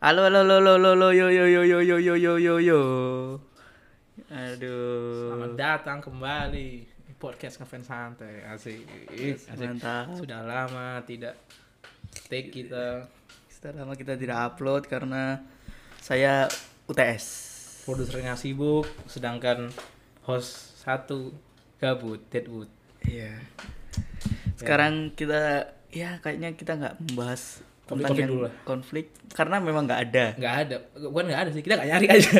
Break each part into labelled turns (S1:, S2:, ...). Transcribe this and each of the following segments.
S1: Halo, halo, halo, halo, halo, yo, yo, yo, yo, yo, yo, yo, yo, yo. Aduh.
S2: Selamat datang kembali di podcast ngefans santai. Asik. Asik.
S1: Mantap.
S2: Sudah lama tidak take kita
S1: Setelah lama kita tidak upload karena saya UTS.
S2: produsernya sibuk sedangkan host satu gabut Deadwood.
S1: Iya. Sekarang kita ya kayaknya kita nggak membahas tentang
S2: Konflik-konflik
S1: yang
S2: dulu lah.
S1: konflik karena memang nggak ada.
S2: Nggak ada. Bukan nggak ada sih, kita nggak nyari aja.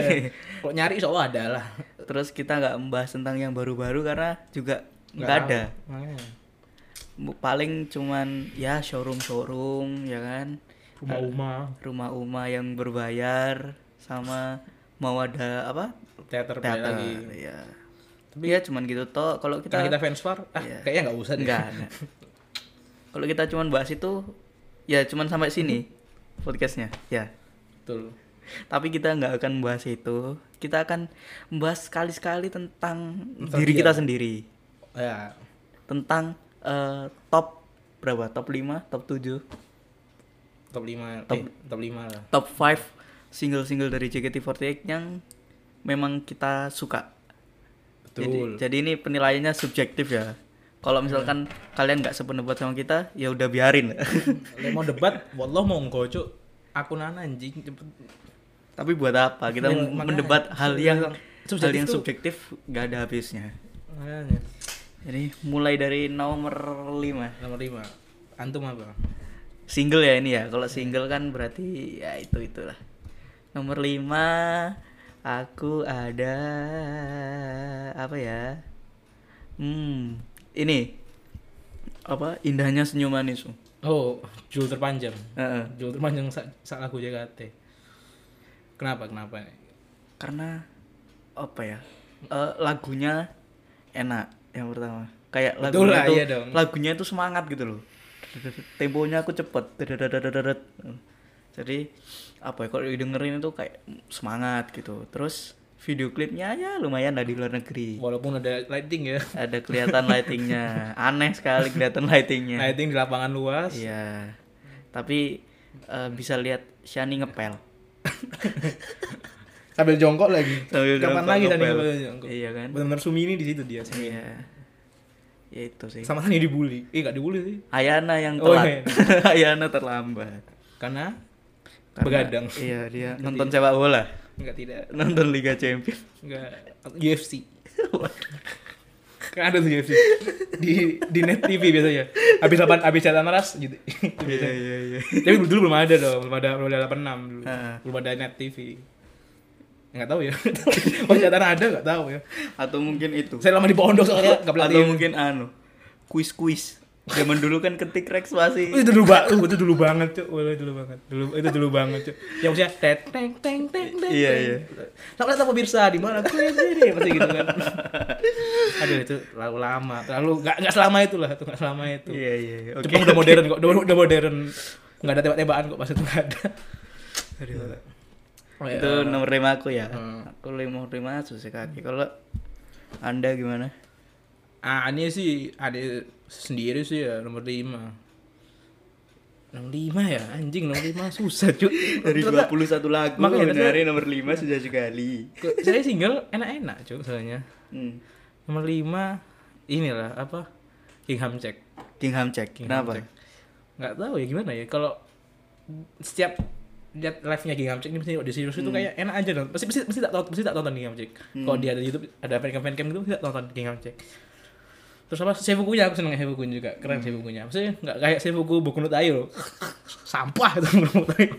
S2: Kalau nyari insya Allah ada lah.
S1: Terus kita nggak membahas tentang yang baru-baru karena juga nggak ada.
S2: tahu. Eh. Makanya.
S1: Bu- Paling cuman ya showroom-showroom ya kan.
S2: Rumah-rumah,
S1: Rumah Uma yang berbayar sama mau ada apa?
S2: teater, balik
S1: Teater.
S2: lagi.
S1: Iya. Tapi ya cuman gitu toh kalau
S2: Karena
S1: kita
S2: kita fans war, ah,
S1: Iya.
S2: kayaknya nggak usah deh.
S1: Enggak. enggak. Kalau kita cuman bahas itu ya cuman sampai sini podcastnya ya.
S2: Betul.
S1: Tapi kita nggak akan membahas itu. Kita akan membahas sekali-sekali tentang
S2: Tentang
S1: diri
S2: dia.
S1: kita sendiri.
S2: Ya,
S1: Tentang eh, top berapa? Top 5, top 7,
S2: top 5
S1: Top-
S2: top, top 5 lah.
S1: top 5 single-single dari JKT48 yang memang kita suka. Jadi,
S2: Betul.
S1: jadi ini penilaiannya subjektif ya. Kalau misalkan kalian nggak sependapat sama kita, ya udah biarin.
S2: Lo mau debat, wallah mau ngocok. Aku nana anjing cepet.
S1: Tapi buat apa kita
S2: Ya,
S1: mem-
S2: makanya.
S1: mendebat hal yang
S2: Subjektif
S1: hal yang
S2: tuh.
S1: subjektif nggak ada habisnya.
S2: Makanya.
S1: Jadi mulai dari nomor 5
S2: Nomor 5. Antum apa?
S1: single ya ini ya. Kalau single kan berarti ya itu itulah. Nomor 5 aku ada apa ya? Hmm, ini apa indahnya senyum manismu.
S2: Oh, judul terpanjang.
S1: Heeh.
S2: Judul terpanjang saat sa lagu JKT. Kenapa? Kenapa?
S1: karena apa ya eh, lagunya enak yang pertama kayak
S2: Betul
S1: lagunya
S2: lah,
S1: itu
S2: iya dong.
S1: lagunya itu semangat gitu loh temponya aku cepet dadadadadadadad. jadi apa ya kalau didengerin itu kayak semangat gitu terus video klipnya ya lumayan dari luar negeri
S2: Walaupun ada lighting ya.
S1: ada kelihatan lightingnya aneh sekali kelihatan lightingnya
S2: Lighting di lapangan luas.
S1: iya tapi eh, bisa lihat Shani ngepel
S2: Sambil jongkok lagi.
S1: Sambil
S2: Kapan
S1: jongkok,
S2: lagi tadi
S1: ngepel.
S2: sambil jongkok?
S1: Iya kan?
S2: Benar-benar Sumini di situ dia. Sumini.
S1: iya ya itu sih
S2: Sama Hani dibully. Eh, enggak dibully sih.
S1: Ayana yang
S2: Oh,
S1: telat. Ayana terlambat.
S2: Karena
S1: Karena-
S2: begadang.
S1: Iya, dia nonton sepak bola,
S2: Enggak tidak.
S1: nonton Liga Champions.
S2: Enggak UFC. kan ada tuh UFC. Di di net TV biasanya. Habis 8 habis catatan ras gitu.
S1: Iya,
S2: Itu biasanya.
S1: iya, iya.
S2: Tapi dulu belum ada dong, belum ada belum ada 86 dulu.
S1: Heeh.
S2: Belum ada net TV. Enggak tahu ya. Masih catatan ada enggak tahu ya.
S1: Atau mungkin itu.
S2: Saya lama di pondok soalnya enggak
S1: Atau
S2: pelatih.
S1: mungkin anu, kuis-kuis. Zaman dulu kan ketik Rex
S2: Oh,
S1: masih
S2: itu dulu banget, itu dulu banget, Cuk. Oh, itu dulu banget. Dulu itu dulu banget, Cuk. Yang maksudnya tet teng teng teng teng.
S1: Iya, iya.
S2: Sampai lihat pemirsa di mana gue ini pasti gitu kan. Aduh, itu terlalu lama, terlalu enggak enggak selama itu lah, itu enggak selama itu.
S1: Iya, iya, iya. Oke.
S2: Jepang udah modern kok, udah, udah modern. Enggak ada tembak-tembakan kok pas itu enggak ada. Oh, Aduh.
S1: Itu nomor lima aku ya.
S2: iya. Hmm.
S1: Aku nomor lima Susekaki. Kalau Anda gimana?
S2: Ah, ini sih ada sendiri sih ya nomor 5. Nomor 5 ya, anjing nomor 5 susah, cuy.
S1: Dari 21 lagu,
S2: Makanya,
S1: dari nomor 5 sudah sekali.
S2: Saya single enak-enak, cuy, soalnya.
S1: Hmm.
S2: Nomor 5 inilah apa? Kingham Check.
S1: Kingham Check.
S2: Kingham
S1: Kenapa?
S2: Check. Nggak tahu ya gimana ya kalau setiap lihat live-nya Gingham Check ini mesti di serius itu kayak enak aja dong. Pasti pasti pasti tak tonton, pasti tak tonton Gingham Check. Kalau dia ada YouTube ada fancam fancam gitu pasti tak tonton Gingham Check. Terus apa Seifukunya aku seneng Seifukunya juga. Keren Seifukunya. Maksudnya enggak kayak Seifuku buku no tayo. Sampah itu buku no tayo.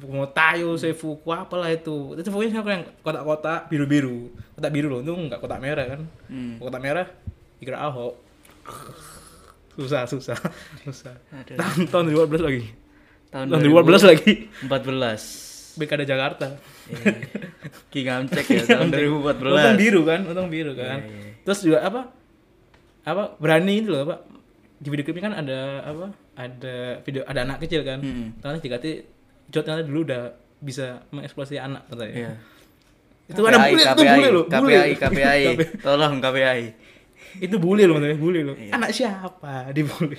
S2: Buku no tayo, Seifuku apalah itu. Itu Seifukunya sekarang yang kotak-kotak biru-biru. Kotak biru loh, itu enggak kotak merah kan.
S1: Hmm.
S2: Kotak merah dikira Ahok. Susah, susah, susah.
S1: Aduh.
S2: Tahun tahun 2012 lagi.
S1: Tahun
S2: Iya. Tahun 2012 lagi.
S1: 2014.
S2: Pilkada Jakarta.
S1: Ki Gamcek ya tahun 2014.
S2: Untung biru kan, untung biru kan.
S1: Iya, iya.
S2: Terus juga apa? Apa berani itu loh, Pak. Di video klipnya kan ada apa? Ada video ada anak kecil kan.
S1: Mm-mm.
S2: Ternyata JKT Jod ternyata dulu udah bisa mengeksplorasi anak katanya.
S1: Iya.
S2: Itu ada bule, itu
S1: KPI,
S2: bule loh, bule.
S1: KPI, KPI, tolong KPI.
S2: Itu
S1: Iya.
S2: bully loh, katanya, bully loh. Anak siapa? Dibully.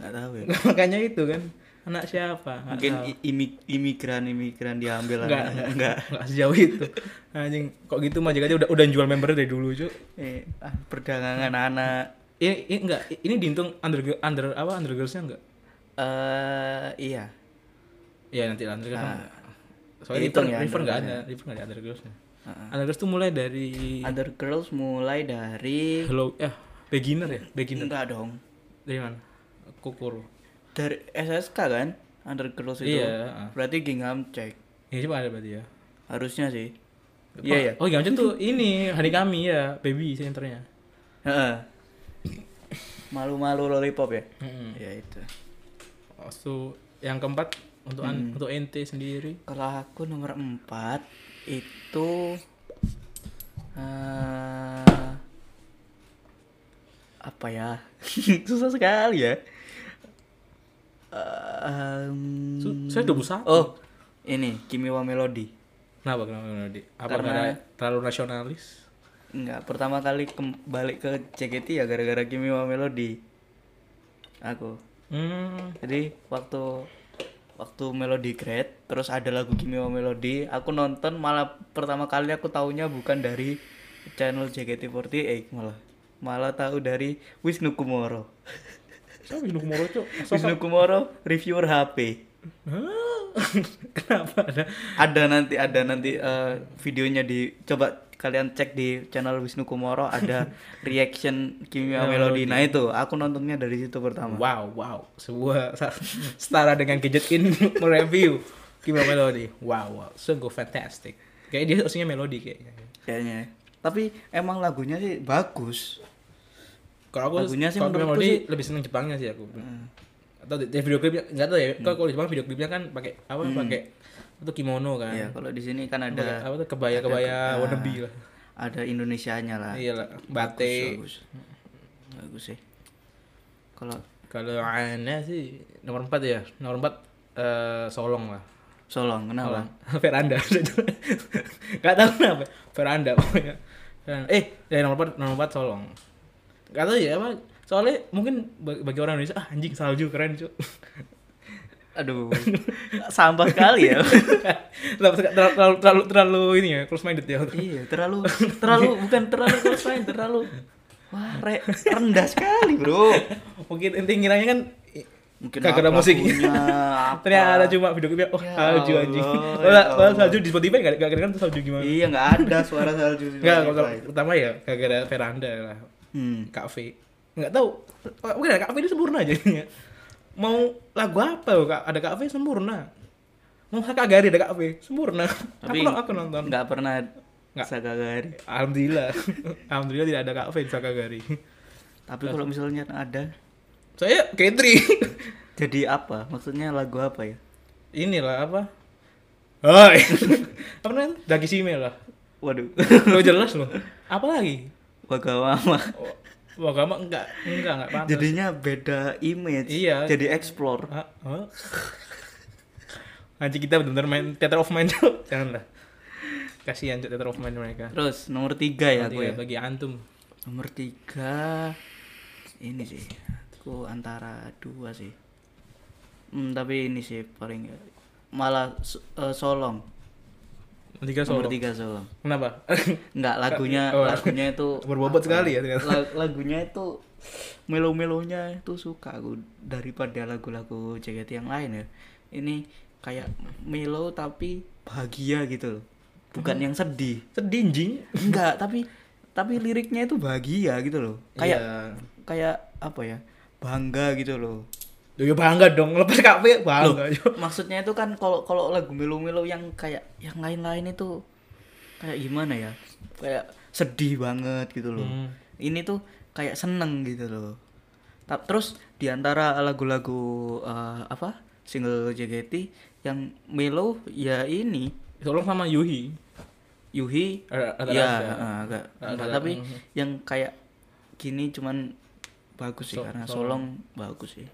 S1: Nggak tahu ya.
S2: Makanya itu kan. anak siapa Nggak
S1: mungkin
S2: tahu.
S1: i- imi- imigran imigran diambil
S2: Nggak,
S1: anak-
S2: nggak nggak sejauh itu anjing kok gitu mah aja udah udah jual membernya dari dulu cuy
S1: eh, ah, perdagangan anak
S2: ini, ini enggak iya, ini dihitung under under apa undergirls-nya enggak
S1: eh iya
S2: ya nanti under girls
S1: Ah.
S2: soalnya
S1: Dihitung
S2: river,
S1: ya
S2: river nggak ada
S1: undergirls-nya.
S2: river nggak ada under girls-nya
S1: Ah,
S2: under girls tuh mulai dari
S1: Other girls mulai dari
S2: hello eh beginner ya beginner
S1: enggak dong
S2: dari mana kokoro
S1: dari SSK kan Under Girls itu
S2: Iya, ah.
S1: berarti Gingham cek
S2: ya cuma ada berarti ya
S1: harusnya sih
S2: Apa-
S1: iya iya
S2: oh Gamjen tuh ini hari kami ya baby senternya
S1: Heeh. malu-malu lollipop ya
S2: Mm-mm.
S1: ya itu
S2: Terus tuh yang keempat untuk an- untuk ente sendiri
S1: kalau aku nomor 4 itu eh apa ya susah sekali ya Eh, em,
S2: Su- saya 21.
S1: oh ini Kimiwa Melody
S2: kenapa kenapa kenapa Di? apa
S1: Karena-
S2: karena terlalu nasionalis
S1: Enggak, pertama kali kem- balik ke JKT ya gara-gara Kimi wa Melody. Aku.
S2: hmm
S1: Jadi waktu waktu Melody Great terus ada lagu Kimi wa Melody, aku nonton malah pertama kali aku taunya bukan dari channel JKT48 eh, malah. Malah tahu dari Wisnu Kumoro.
S2: siapa Wisnu Kumoro tuh
S1: Wisnu Kumoro reviewer HP.
S2: kenapa ada
S1: Ada nanti ada nanti eh, videonya di coba kalian cek di channel Wisnu Kumoro ada reaction Kimi wa Melody. Nah itu aku nontonnya dari situ pertama.
S2: wow wow sebuah sa- setara dengan gadget in mereview Kimia Melody wow wow sungguh fantastic kayak dia aslinya melodi kayaknya
S1: kayaknya tapi emang lagunya sih bagus
S2: kalau aku
S1: Lagunya sih
S2: kalau Kimia
S1: menurutku
S2: Melody
S1: sih- Hmm.
S2: lebih seneng Jepangnya sih aku atau di, di video klipnya nggak tahu ya kalau kalau di Jepang video klipnya kan pakai apa pakai itu kimono kan
S1: ya kalau di sini kan Hmm.
S2: Pakai
S1: ada
S2: apa tuh kebaya kebaya
S1: ada-
S2: ya, wannabe lah
S1: ada Indonesianya lah
S2: iya lah
S1: bagus,
S2: batik
S1: bagus. Bagus sih kalau
S2: kalau aneh sih nomor empat ya nomor empat eh, solong lah
S1: Solong kenapa
S2: veranda nggak tahu kenapa veranda pokoknya Veranda. eh dari nomor empat nomor empat solong nggak tahu ya apa soalnya mungkin bagi bagi orang Indonesia ah anjing salju keren cuy
S1: aduh sampah sekali ya
S2: terlalu, terlalu, terlalu terlalu ini ya close minded ya
S1: iya terlalu terlalu bukan terlalu selesai terlalu wah re- rendah sekali bro
S2: mungkin inti ngiranya kan i-
S1: mungkin
S2: Kagak ada
S1: apa
S2: musiknya.
S1: lagunya, apa.
S2: ternyata ada cuma video klipnya oh
S1: Ya
S2: salju
S1: Allah,
S2: anjing
S1: ya
S2: Padahal- padahal
S1: Allah.
S2: salju di Spotify nggak nggak kedengeran tuh salju gimana
S1: iya nggak ada suara salju di
S2: nggak kalau
S1: Spotify.
S2: pertama ya gara-gara veranda lah
S1: hmm.
S2: kafe nggak tahu Oh, mungkin ada kafe ini sempurna jadinya mau lagu apa loh Kak? ada kafe sempurna mau Sakagari ada kafe sempurna
S1: tapi
S2: aku, aku nonton
S1: nggak pernah
S2: Nggak.
S1: Sakagari
S2: alhamdulillah alhamdulillah tidak ada kafe di Sakagari
S1: Tapi kalau misalnya ada,
S2: saya Kendri
S1: jadi apa? Maksudnya lagu apa ya?
S2: inilah apa Hai apa namanya dagi sime lah
S1: Waduh,
S2: lo jelas loh apa lagi
S1: Wagawama.
S2: oh, Wagama enggak enggak enggak pantas
S1: Jadinya beda image.
S2: Iya.
S1: Jadi explore.
S2: Ah, ah. Anjing kita benar-benar main theater of mind tuh. Janganlah. Kasihan Cuk, theater of mind mereka.
S1: Terus nomor tiga ya
S2: Nanti
S1: aku ya.
S2: bagi antum.
S1: Nomor tiga ini sih. Aku antara dua sih. Hmm, tapi ini sih paling malah so- eh, Solong.
S2: Tiga
S1: Nomor
S2: solo.
S1: tiga Solong.
S2: Kenapa?
S1: Enggak lagunya
S2: Oh.
S1: lagunya itu
S2: Berbobot sekali ya ternyata.
S1: La- lagunya itu melo-melonya itu suka aku daripada lagu-lagu JKT yang lain ya. Ini kayak melo tapi bahagia gitu loh. Bukan
S2: Hmm.
S1: yang sedih.
S2: Sedih anjing.
S1: Enggak, tapi tapi liriknya itu bahagia gitu loh. Kayak kayak apa ya? Bangga gitu loh.
S2: Iya. Ya bangga dong lepas kafe bangga. Cuk.
S1: Maksudnya itu kan kalau kalau lagu melo-melo yang kayak yang lain-lain itu kayak gimana ya? Kayak sedih banget gitu loh.
S2: Hmm.
S1: Ini tuh kayak seneng gitu loh. Ta- Terus di antara lagu-lagu eh, apa? single JKT yang melo ya ini
S2: Solong sama Yuhi.
S1: Yuhi
S2: Ada- ada-
S1: ya
S2: ada.
S1: eh, agak
S2: Ada-
S1: enggak,
S2: ada,
S1: tapi
S2: mm.
S1: yang kayak gini cuman bagus sih
S2: So-
S1: karena Solong
S2: Solong.
S1: bagus sih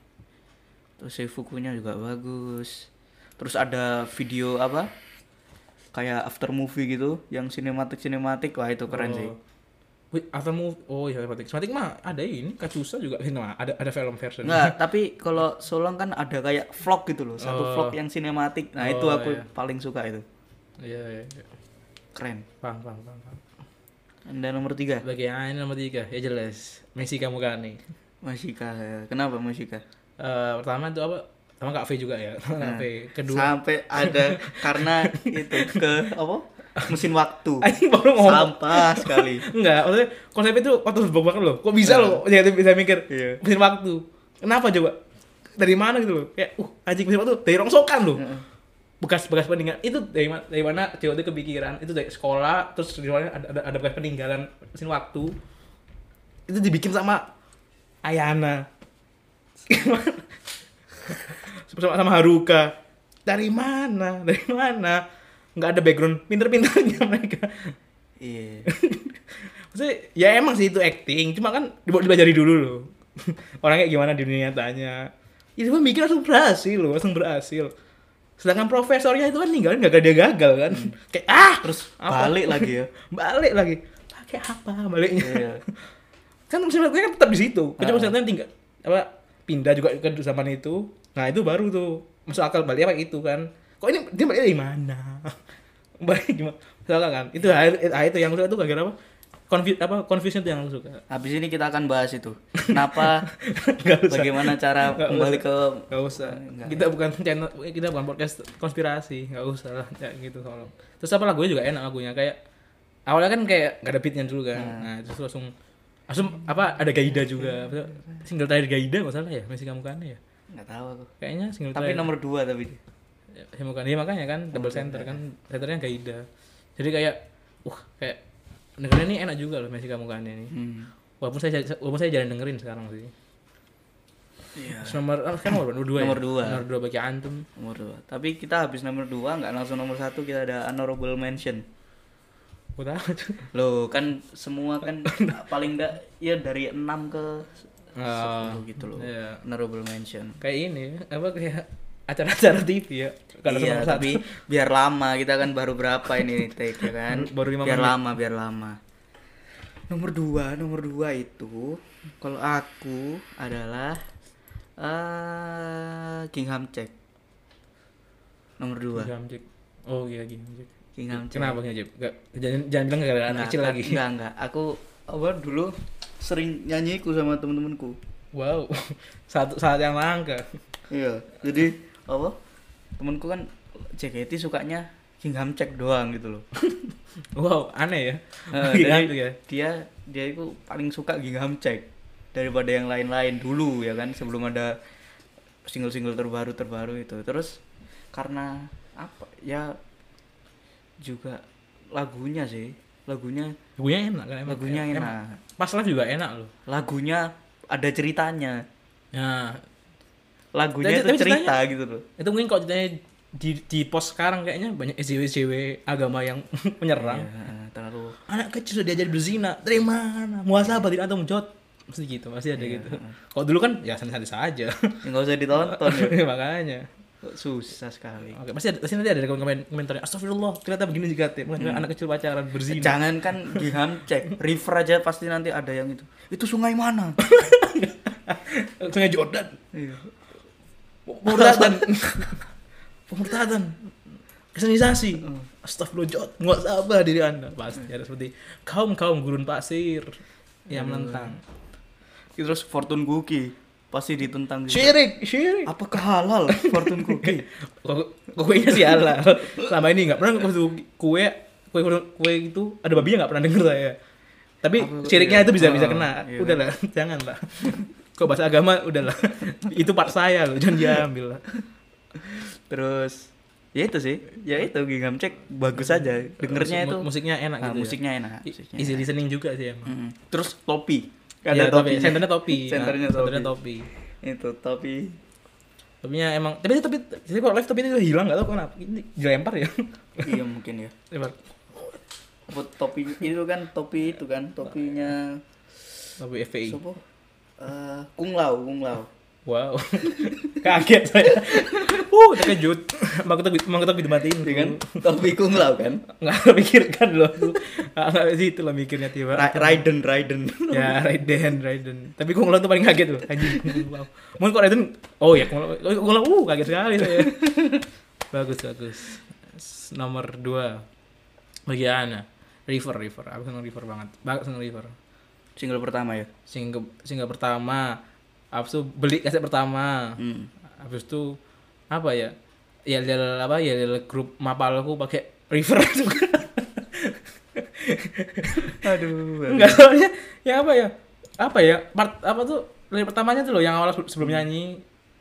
S1: terus Seifukunya juga bagus terus ada video apa kayak after movie gitu yang sinematik sinematik wah itu keren sih
S2: Oh. Wait, after move. Oh iya, Somatic. Somatic mah ada ini, Kacusa juga cinema. Ada ada film version.
S1: Enggak, tapi kalau Solong kan ada kayak vlog gitu loh, satu
S2: Oh.
S1: vlog yang sinematik. Nah, itu
S2: Oh,
S1: aku
S2: iya.
S1: paling suka itu.
S2: Iya, iya, iya.
S1: Keren.
S2: Paham, paham, paham. paham.
S1: Anda nomor tiga
S2: Bagian nomor tiga, ya jelas. Messi kamu kan nih.
S1: Masika. Kenapa Masika?
S2: Eh, pertama itu apa? Pertama Kak V juga ya. Kak V.
S1: Hmm.
S2: Kedua.
S1: Nah, Sampai ada karena itu ke apa? Mesin waktu.
S2: Anjing baru ngomong.
S1: Sampah sekali.
S2: Enggak, maksudnya konsep itu waktu berbuka banget loh. Kok bisa loh jadi bisa mikir
S1: Iya.
S2: mesin waktu. Kenapa coba? Dari mana gitu loh? Kayak uh anjing mesin waktu dari rongsokan loh.
S1: Heeh.
S2: Bekas-bekas peninggalan itu dari mana dari mana COD kepikiran itu dari sekolah terus di sekolahnya ada, ada, ada bekas peninggalan mesin waktu. Itu dibikin sama Ayana. sama, sama Haruka. Dari mana? Dari mana? Nggak ada background pinter-pinternya mereka.
S1: Iya.
S2: Maksudnya, ya emang sih itu acting, cuma kan dibawa dipelajari dulu loh. Orangnya gimana di dunia nyatanya. Ya cuma mikir langsung berhasil loh, langsung berhasil. Sedangkan profesornya itu kan ninggalin gagal dia gagal kan.
S1: Hmm.
S2: Kayak ah,
S1: Terus
S2: Apa?
S1: balik lagi ya.
S2: balik lagi. Pakai apa baliknya?
S1: Iya.
S2: kan maksudnya gue kan tetap di situ.
S1: Ah.
S2: Kecuali misalnya tinggal apa pindah juga ke zaman itu. Nah, itu baru tuh masuk akal balik apa itu kan. Kok ini dia balik dari mana? balik gimana? Soalnya kan itu
S1: Iya.
S2: ah, itu yang gue suka tuh gara-gara apa? Confu- apa confusion tuh yang gue suka.
S1: Habis ini kita akan bahas itu. Kenapa
S2: Nggak usah.
S1: bagaimana cara
S2: Nggak
S1: kembali ke
S2: Gak usah.
S1: Nggak.
S2: Kita bukan channel, eh, kita bukan podcast konspirasi. Gak usah lah, kayak gitu tolong. Terus apa lagunya juga enak lagunya kayak awalnya kan kayak gak ada beatnya dulu kan.
S1: Hmm.
S2: Nah, terus langsung langsung apa ada Gaida juga. Single terakhir Gaida nggak salah ya, masih kamu kan ya.
S1: nggak tahu aku.
S2: Kayaknya single
S1: Tapi
S2: terakhir.
S1: nomor Oh, iya. dua tapi.
S2: Ya, bukan dia makanya kan double center kan centernya Gaida. Jadi kayak uh kayak dengerin ini enak juga loh masih kamu kan ini.
S1: Hmm.
S2: Walaupun saya walaupun saya jarang dengerin sekarang sih.
S1: Iya.
S2: Terus nomor ah, sekarang nomor dua ya?
S1: Nomor dua.
S2: Nomor dua bagi antum.
S1: Nomor dua. Tapi kita habis nomor dua nggak langsung nomor satu kita ada honorable mention.
S2: Gue tahu tuh.
S1: Loh kan semua kan paling nggak ya dari 6 ke
S2: Ah,
S1: 10 gitu loh.
S2: iya.
S1: Honorable mention.
S2: Kayak ini apa kayak acara-acara TV ya. Kalau
S1: iya,
S2: nomor satu.
S1: tapi biar lama kita kan baru berapa ini take ya kan?
S2: Baru- baru lima
S1: biar
S2: menit.
S1: lama, biar lama. Nomor dua, nomor dua itu kalau aku adalah eh Kingham Check. Nomor dua.
S2: Jam Jack. Oh iya gini Jack.
S1: Kingham Check.
S2: Kenapa gini Jack? Gak, jangan jangan bilang gara-gara anak kecil lagi.
S1: Enggak, enggak. Aku awal dulu sering nyanyiku sama temen-temenku.
S2: Wow. Satu saat yang langka.
S1: Iya, jadi apa? Temenku kan JKT sukanya Kingham Check doang gitu loh.
S2: Wow, aneh ya.
S1: Eh,
S2: Gini
S1: dari-
S2: gitu ya.
S1: Dia dia itu paling suka Kingham Check daripada yang lain-lain dulu ya kan sebelum ada single-single terbaru terbaru itu. Terus karena apa? Ya juga lagunya sih, lagunya
S2: Lagunya enak kan emang.
S1: lagunya
S2: Em-
S1: enak.
S2: Pas live juga enak loh.
S1: Lagunya ada ceritanya.
S2: Nah,
S1: Lagunya
S2: Tapi-
S1: itu
S2: tapi
S1: cerita gitu loh.
S2: itu mungkin kalau ceritanya di, di pos sekarang kayaknya banyak SJW-SJW agama yang menyerang.
S1: Ya, terlalu
S2: anak kecil sudah diajar berzina dari mana muasabah tidak atau mujot mesti gitu masih ada gitu kalau dulu kan ya santai-santai saja
S1: ya, nggak usah ditonton ya.
S2: makanya
S1: Kok susah sekali.
S2: oke pasti ada, pasti nanti ada komen komentarnya astagfirullah ternyata begini juga teh mungkin anak kecil pacaran berzina
S1: Jangan kan Giham cek river aja pasti nanti ada yang itu. Itu sungai mana?
S2: Eh, sungai Jordan
S1: Iya.
S2: pemurtadan pemurtadan kristenisasi astagfirullah jod muasabah diri anda pasti ada seperti kaum kaum gurun pasir yang menentang
S1: Terus Fortune Cookie pasti ditentang juga.
S2: syirik syirik
S1: Apakah halal Fortune Cookie?
S2: Kok kuenya sih halal. Selama ini nggak pernah kue kue kue kue itu ada babinya nggak pernah denger saya. Tapi
S1: Apa- iya.
S2: ciriknya itu bisa bisa
S1: Oh,
S2: kena.
S1: iya.
S2: Udahlah, jangan lah. Kok bahasa agama udahlah. itu part saya loh, jangan diambil lah.
S1: Terus ya itu sih, ya itu Giham cek bagus aja. Iya, Dengernya
S2: Musik-
S1: itu
S2: mu- musiknya enak
S1: Ah,
S2: gitu. ya.
S1: musiknya enak.
S2: I-
S1: musiknya
S2: Easy
S1: enak.
S2: listening juga sih emang.
S1: Mm-mm. Terus topi.
S2: Iya,
S1: Ada topi.
S2: Senternya topi.
S1: Senternya
S2: Nah, senternya
S1: topi.
S2: topi.
S1: Itu topi.
S2: Topinya emang tapi tapi tapi kalau live topinya itu hilang nggak tahu kenapa. Ini dilempar ya.
S1: Iya mungkin ya.
S2: Lempar.
S1: Apa topi itu kan topi itu kan topinya
S2: Topi FPI.
S1: Sopo? Eh, Kung Lao, Kung Lao.
S2: Wow. Kaget saya. uh terkejut emang kita emang kita dimatiin
S1: Iya kan? Tapi kunglau kan?
S2: nggak pikirkan loh aku nggak ke situ lah mikirnya tiba
S1: Ra- Raiden, Raiden.
S2: ya Raiden Raiden tapi Kung Lao tuh paling kaget loh anjing Kung Lao mungkin kok Raiden oh ya Kung Lao oh, Kung Lao uh kaget sekali saya bagus bagus S- nomor dua bagi Ana River River aku seneng River banget banget seneng River
S1: Single pertama ya.
S2: single single pertama abis itu beli kaset pertama
S1: Hmm.
S2: abis itu apa ya ya lihat apa ya lihat grup mapalku pakai river juga
S1: Aduh.
S2: enggak soalnya ya apa ya apa ya part apa tuh dari pertamanya tuh loh yang awal sebelum nyanyi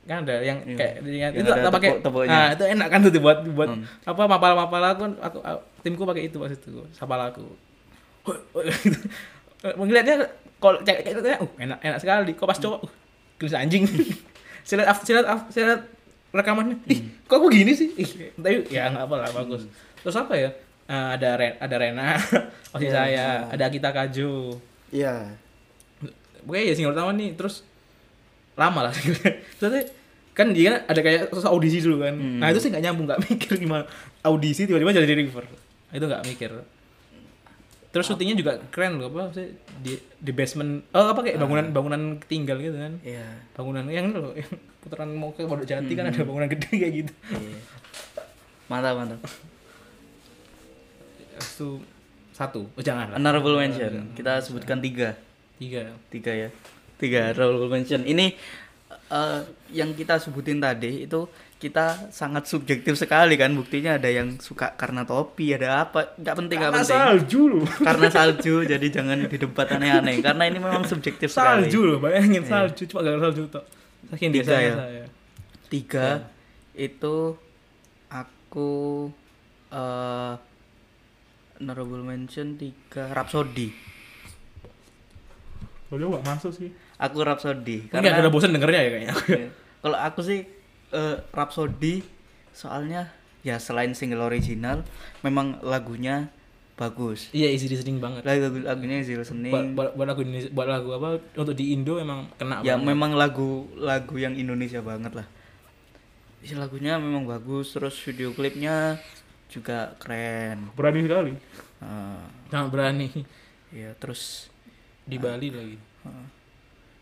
S2: kan ada yang
S1: Hmm. Iya.
S2: kayak yang,
S1: Yang
S2: itu
S1: ada
S2: tak pakai
S1: tepuk- tepuknya.
S2: nah itu enak kan tuh buat buat
S1: Hmm.
S2: apa mapal mapal aku aku aku- timku pakai itu pas itu sapal aku melihatnya kalau cewek kayak gitu ya, uh, enak enak sekali kok pas cowok uh, gelis anjing silat af silat af silat rekamannya ih kok aku gini sih ih tapi ya nggak apa lah bagus terus apa ya Eh, ada Ren, ada Rena masih
S1: Iya,
S2: saya
S1: Rena.
S2: ada kita Kajo
S1: Iya.
S2: Oke ya single pertama nih terus lama lah terus kan dia kan ada kayak sosok audisi dulu kan
S1: Hmm.
S2: nah itu sih nggak nyambung nggak mikir gimana audisi tiba-tiba jadi river Nah, itu nggak mikir terus syutingnya juga keren loh apa sih di di basement oh apa kayak
S1: Ah.
S2: bangunan bangunan tinggal gitu kan
S1: Iya.
S2: bangunan yang itu loh yang putaran mau ke Pondok Jati kan
S1: Hmm.
S2: ada bangunan gede kayak gitu
S1: Iya. Mantap, mantap.
S2: Terus itu satu oh, jangan lah
S1: Honorable mention. Kita sebutkan tiga.
S2: tiga
S1: tiga ya tiga honorable mention ini eh, yang kita sebutin tadi itu kita sangat subjektif sekali kan buktinya ada yang suka karena topi ada apa nggak penting nggak
S2: Karena
S1: penting
S2: salju loh
S1: karena salju jadi jangan didebat aneh-aneh karena ini memang subjektif sekali Iya.
S2: salju loh bayangin salju cuma gara salju tuh saking
S1: Tiga
S2: biasa
S1: ya?
S2: ya
S1: tiga itu aku eh honorable mention tiga Rhapsody
S2: Kalau gak masuk sih.
S1: aku Rhapsody
S2: Karena ada bosan dengernya ya kayaknya.
S1: Iya. Kalau aku sih eh, Rhapsody soalnya ya selain single original memang lagunya bagus.
S2: Iya, easy listening banget.
S1: Lagu lagunya easy
S2: Buat,
S1: listening.
S2: buat, buat lagu Indonesia, buat lagu apa untuk di Indo emang kena
S1: Ya
S2: banget.
S1: memang lagu lagu yang Indonesia banget lah. Isi lagunya memang bagus terus video klipnya juga keren.
S2: berani sekali.
S1: Eh,
S2: Nah, berani
S1: ya terus
S2: di
S1: Ah.
S2: Bali lagi.
S1: eh,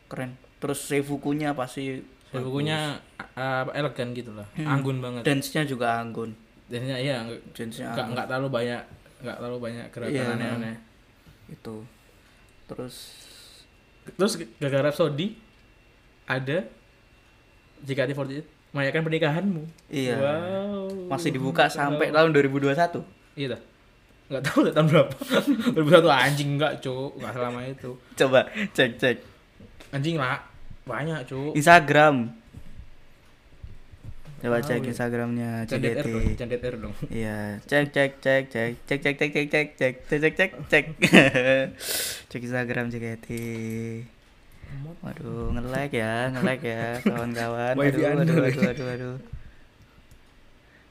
S1: keren. Terus seifukunya pasti
S2: Saya bukunya apa elegan gitu lah.
S1: Hmm.
S2: Anggun banget.
S1: dance-nya juga anggun.
S2: Dan iya nggak-
S1: Dance-nya
S2: nggak
S1: anggun.
S2: nggak terlalu banyak nggak terlalu banyak gerakan
S1: Ya. Iya.
S2: aneh-aneh.
S1: Itu. Terus
S2: Terus gara-gara Saudi ada JKT48 merayakan pernikahanmu.
S1: iya.
S2: Wow.
S1: masih dibuka sampai tahun 2021.
S2: Iya dah. Enggak tahu dah tahun berapa. 2001 anjing enggak, Cuk. Enggak selama itu.
S1: Coba cek cek
S2: Anjing lah. Banyak, Cuk.
S1: Instagram. Coba
S2: Tahu
S1: cek
S2: ya.
S1: Instagramnya CDT.
S2: Jandet R dong, jandet R dong.
S1: Iya, cek cek cek cek cek cek cek cek cek cek cek cek cek cek cek Instagram JKT. Waduh, nge-lag ya, nge-lag ya kawan-kawan.
S2: Wifi
S1: Aduh,
S2: Anda
S1: aduh,
S2: lagi.
S1: aduh, aduh, aduh.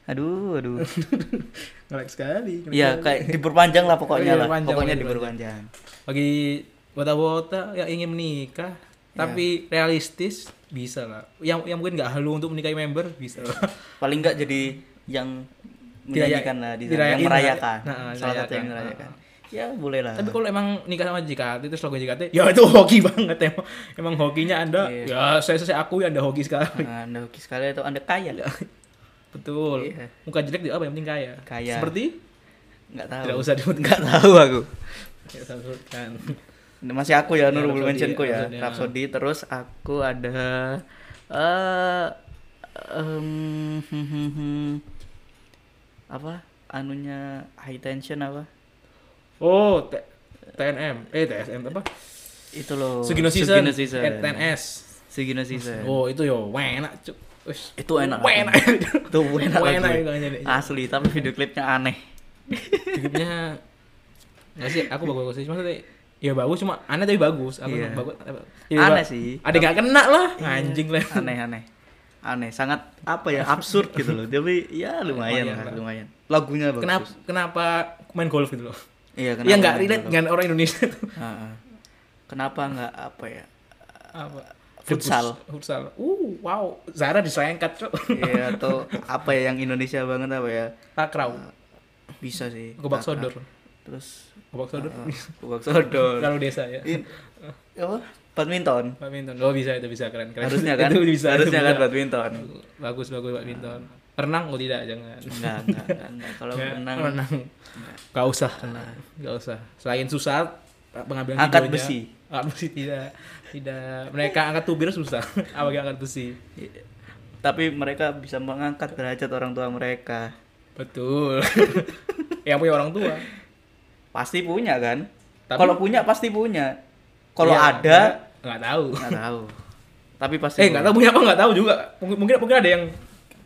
S1: Aduh, aduh.
S2: Ngelek sekali.
S1: Iya, kayak diperpanjang lah pokoknya
S2: Iya,
S1: lah.
S2: diperpanjang,
S1: Pokoknya
S2: diperpanjang.
S1: diperpanjang.
S2: bagi wota-wota yang ingin menikah
S1: Iya.
S2: tapi realistis bisa lah. Yang yang mungkin enggak halu untuk menikahi member bisa
S1: Iya.
S2: lah.
S1: paling nggak jadi yang
S2: Diraya-
S1: menyanyikan lah di sana,
S2: dirayain,
S1: yang merayakan
S2: nah, nah,
S1: salah satu yang merayakan
S2: merayakan.
S1: ya boleh lah
S2: Tapi kalau emang nikah sama JKT terus logo JKT,
S1: Iya.
S2: ya itu hoki banget emang. Emang hokinya Anda. Ya saya saya akui Anda hoki sekali.
S1: Nah, anda hoki sekali atau anda kaya nggak
S2: Betul.
S1: Iya.
S2: Muka jelek juga apa yang penting kaya.
S1: Kaya.
S2: Seperti
S1: nggak tahu
S2: Tidak usah disebut.
S1: nggak tahu aku
S2: Ya, kan.
S1: masih aku ya
S2: Ya,
S1: honorable
S2: Rhapsody,
S1: mentionku ya
S2: Rhapsody, ya.
S1: Rhapsody terus aku ada eh em, hmm, hmm, hmm. apa anunya high tension apa
S2: Oh, T- TNM. Eh, TSM apa?
S1: itu loh
S2: Sugino Season.
S1: Sugino Oh, Season.
S2: Eh, TNS.
S1: Sugino Season.
S2: Oh, itu yo enak, cuk. Wis.
S1: itu enak
S2: Wah, enak.
S1: itu enak,
S2: Wah,
S1: lagu. Ah.
S2: enak juga jadi.
S1: asli tapi video klipnya aneh
S2: Hidupnya Nggak sih, aku bagus-bagus sih. Maksudnya ya bagus cuma aneh tapi bagus. Aku
S1: Iya.
S2: bagus.
S1: Aneh
S2: ba-
S1: sih. Iya,
S2: Ada nggak kena lah. Anjing lah.
S1: aneh aneh aneh sangat apa ya absurd gitu loh tapi ya lumayan
S2: Lumayan
S1: lah
S2: lah.
S1: lumayan lagunya bagus
S2: Kenapa kenapa main golf gitu loh?
S1: iya
S2: Ya nggak
S1: main
S2: relate
S1: golf?
S2: dengan orang Indonesia tuh.
S1: Heeh. kenapa nggak apa ya
S2: Apa?
S1: Futsal.
S2: futsal uh wow Zara diselengkat cok
S1: Iya, atau apa ya yang Indonesia banget apa ya?
S2: takraw
S1: Bisa sih. Nah, nah.
S2: gobak sodor
S1: Terus
S2: gobak sodor
S1: uh, gobak sodor.
S2: kalau desa ya
S1: In- apa? Badminton.
S2: badminton oh bisa itu bisa keren keren
S1: Harusnya kan?
S2: itu bisa itu
S1: Harusnya kan
S2: bisa.
S1: badminton.
S2: bagus bagus badminton renang oh tidak jangan
S1: Enggak, enggak, enggak. enggak. Kalau
S2: Nggak,
S1: renang
S2: renang gak usah renang gak usah selain susah pengambilan
S1: Angkat
S2: videonya-
S1: besi.
S2: angkat besi tidak tidak mereka angkat tubir susah apalagi angkat besi
S1: tapi mereka bisa mengangkat derajat orang tua mereka.
S2: betul yang punya orang tua
S1: Pasti punya kan?
S2: Tapi-
S1: Kalau punya pasti punya. Kalau
S2: Ya,
S1: ada
S2: nggak- nggak tahu
S1: nggak tahu. Tapi pasti.
S2: eh nggak tahu punya apa nggak tahu juga mungkin mungkin mungkin ada yang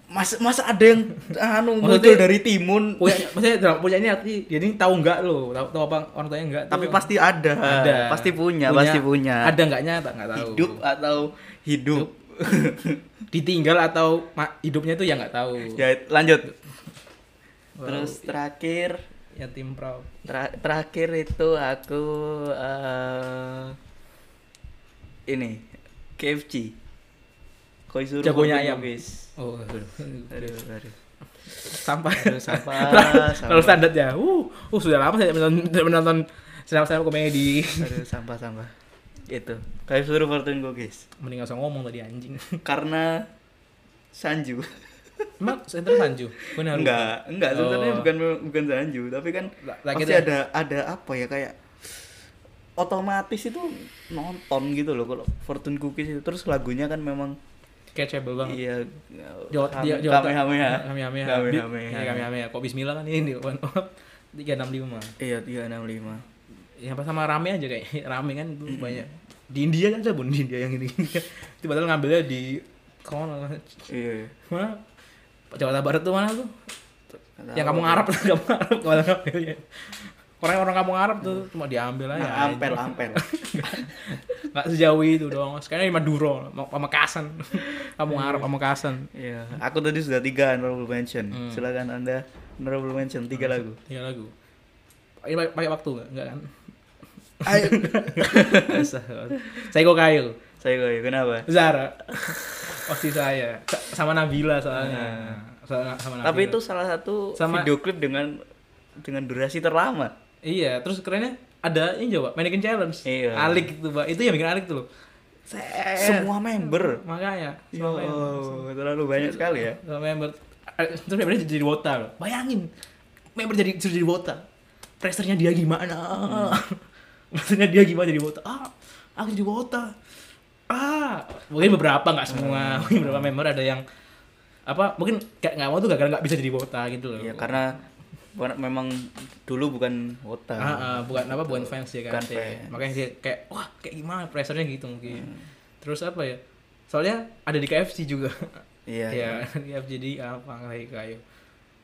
S1: Masa masa ada yang anu muncul
S2: Maksudnya-
S1: dari timun
S2: punya maksudnya dalam punya ini arti jadi tahu nggak lo tahu, tahu apa orang tuanya nggak
S1: tapi
S2: tahu.
S1: pasti ada.
S2: ada
S1: Pasti punya, pasti punya.
S2: ada nggaknya tak nggak tahu
S1: Hidup atau hidup.
S2: ditinggal atau ma- hidupnya itu ya nggak tahu
S1: ya, lanjut.
S2: Wow.
S1: Terus terakhir
S2: ya tim pro
S1: Tera- terakhir itu aku eh, ini KFC. Koizuru
S2: Jagonya
S1: Kopi
S2: ayam.
S1: Bugis.
S2: oh
S1: Aduh, aduh.
S2: sampah
S1: sampah,
S2: terlalu
S1: sampah.
S2: standar ya uh, uh sudah lama saya tidak menonton, tidak menonton stand komedi
S1: Aduh, sampah sampah. Itu. Koizuru Fortune Cookies.
S2: mending gak usah ngomong tadi anjing
S1: Karena Sanju.
S2: emang center Sanju benar
S1: enggak, enggak sebenarnya
S2: Oh.
S1: bukan bukan Sanju, tapi kan
S2: Lah, lah
S1: pasti
S2: kita-
S1: ada ada apa ya kayak otomatis itu nonton gitu loh kalau Fortune Cookies itu terus lagunya kan memang
S2: catchable banget
S1: Iya.
S2: Jawa dia
S1: Ham-
S2: Jawa
S1: Kamehameha.
S2: Kamehameha.
S1: Kamehameha.
S2: Iya, Kamehameha. Kok bismillah kan ini one up 365.
S1: Iya, 365.
S2: Ya apa sama rame aja kayak rame kan itu banyak. Di India aja bun di India yang ini. Itu padahal ngambilnya di kono.
S1: Iya.
S2: Mana? Jawa Barat tuh mana tuh?
S1: Nggak tahu.
S2: Yang Ya, kamu ngarap tuh, kamu ngarap kalau ngambilnya. Orang-orang kamu ngarap tuh cuma diambil aja.
S1: Nah, ampel, ampel.
S2: Enggak sejauh itu dong. Sekarang di Madura, mau Pamekasan. Kamu ngarap Pamekasan.
S1: Iya. Aku tadi sudah tiga honorable mention.
S2: Hmm.
S1: Silakan Anda honorable mention tiga lagu.
S2: Tiga lagu. Ini pakai pakai waktu nggak? Enggak kan?
S1: Ayo.
S2: Nggak usah. saya kok kail.
S1: Saya gue, kenapa?
S2: Zara. Pasti saya. Sa- Sama Nabila soalnya. Sa- Sama Nabila.
S1: Tapi itu salah satu
S2: Sama-
S1: video klip dengan dengan durasi terlama.
S2: Iya, terus kerennya ada ini coba, mannequin challenge.
S1: Iya.
S2: Alik itu, Pak. Itu yang bikin Alik tuh loh. Set.
S1: Semua member.
S2: Makanya.
S1: Ya Allah, terlalu banyak sekali ya.
S2: Sama member. eh, Terus membernya jadi wota loh. Bayangin. Member jadi suruh jadi wota. Pressernya dia gimana?
S1: Hmm.
S2: Pressernya dia gimana jadi wota? Ah, aku jadi wota. Ah, mungkin beberapa nggak semua.
S1: Hmm.
S2: Mungkin beberapa member ada yang apa mungkin kayak nggak mau tuh gara-gara nggak bisa jadi wota gitu loh.
S1: Iya, karena bukan- memang dulu bukan wota.
S2: Ah, ah, bukan apa bukan fans ya kan
S1: Bukan
S2: sih.
S1: fans. Hmm.
S2: makanya dia kayak wah kayak gimana pressernya gitu mungkin terus apa ya soalnya ada di KFC juga
S1: Iya,
S2: ya KFC jadi apa kayak kayu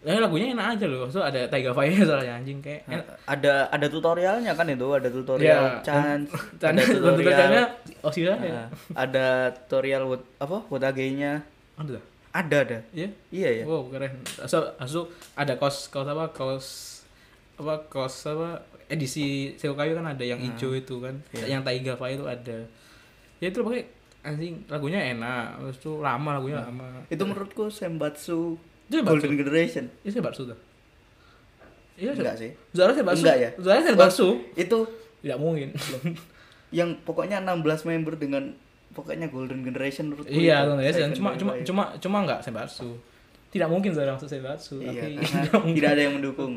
S2: Nah, lagunya enak aja loh. So ada Tiger Fire soalnya anjing kayak
S1: Nah,
S2: enak.
S1: ada ada tutorialnya kan itu ada tutorial
S2: Iya.
S1: chance
S2: Dan
S1: ada
S2: tutorialnya
S1: tutorial
S2: oh sih
S1: nah,
S2: ya. ada.
S1: ada tutorial buat apa buat nya
S2: Aduh.
S1: ada ada
S2: Iya.
S1: iya ya
S2: Wow, keren. So, so ada kaos kaos apa? Kaos apa? Kaos apa? eh, Edisi Seo Kayu kan ada yang hijau itu kan.
S1: Iya.
S2: Yang Taiga Fire itu ada. Ya itu pakai anjing lagunya enak. Terus tuh lama lagunya lama.
S1: Hmm. itu menurutku sembatsu
S2: Itu Senbatsu.
S1: golden generation
S2: Itu Senbatsu tuh. Iya,
S1: enggak
S2: Sen-
S1: sih
S2: Zara Senbatsu.
S1: Enggak ya?
S2: Zara Senbatsu.
S1: itu
S2: Tidak mungkin.
S1: yang pokoknya 16 member dengan pokoknya golden generation menurutku
S2: iya,
S1: itu. Seven ya.
S2: Zara Senbatsu. Cuma
S1: Bye
S2: cuma
S1: Bye.
S2: cuma cuma enggak Senbatsu. Tidak mungkin Zara masuk Senbatsu.
S1: iya,
S2: tapi
S1: karena
S2: tidak mungkin.
S1: tidak ada yang mendukung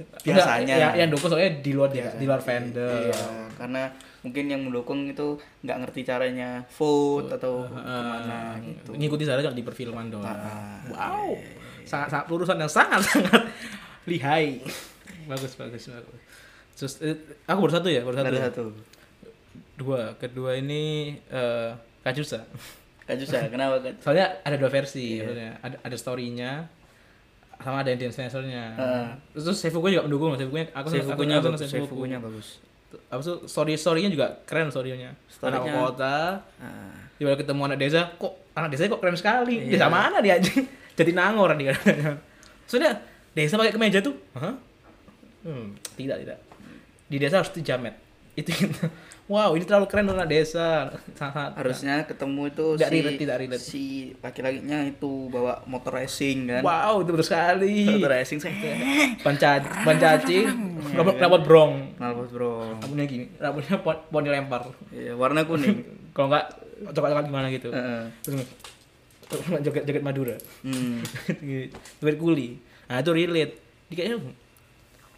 S2: Enggak,
S1: biasanya
S2: ya, yang dukung soalnya di luar dia, di luar vendor.
S1: Iya, karena mungkin yang mendukung itu nggak ngerti caranya vote atau
S2: Ah,
S1: kemana gitu
S2: ngikuti Zara cuma di perfilman doang.
S1: Ah,
S2: wow. Sangat, sangat lurusan yang sangat sangat lihai. bagus bagus bagus. Terus eh, aku baru satu ya, baru satu.
S1: Nggak ada
S2: ya?
S1: satu
S2: Dua, kedua ini eh Kajusa.
S1: Kak Jusa, kenapa Kak?
S2: Soalnya ada dua
S1: Iya.
S2: versi sebenarnya. Ada ada story-nya sama ada dance dancernya.
S1: Heeh.
S2: Terus, terus Seifuku juga mendukung, Seifuku aku
S1: Seifukunya
S2: aku- aku
S1: bagus,
S2: Seifuku.
S1: Seifukunya bagus.
S2: Apa tuh story story-nya juga keren story-nya. Anak
S1: Story-nya-
S2: kota,
S1: Ah,
S2: tiba ketemu anak desa kok anak desa kok keren sekali desa mana dia anjing jadi nangor dia soalnya desa pakai kemeja tuh Hah? hmm, tidak tidak di desa harus itu jamet itu kita wow ini terlalu keren anak desa sangat
S1: harusnya ketemu itu
S2: Nggak
S1: si
S2: relate, tidak relate.
S1: si laki-lakinya itu bawa motor racing kan
S2: wow itu betul sekali
S1: motor racing saya
S2: panca pancacing robot robot brong
S1: Malbos bro
S2: rambutnya gini rambutnya pon pon dilempar
S1: Iya, warna kuning
S2: kalau nggak coklat-coklat gimana gitu
S1: Heeh.
S2: terus joget joget Madura
S1: hmm.
S2: joget kuli nah itu relate Jadi kayaknya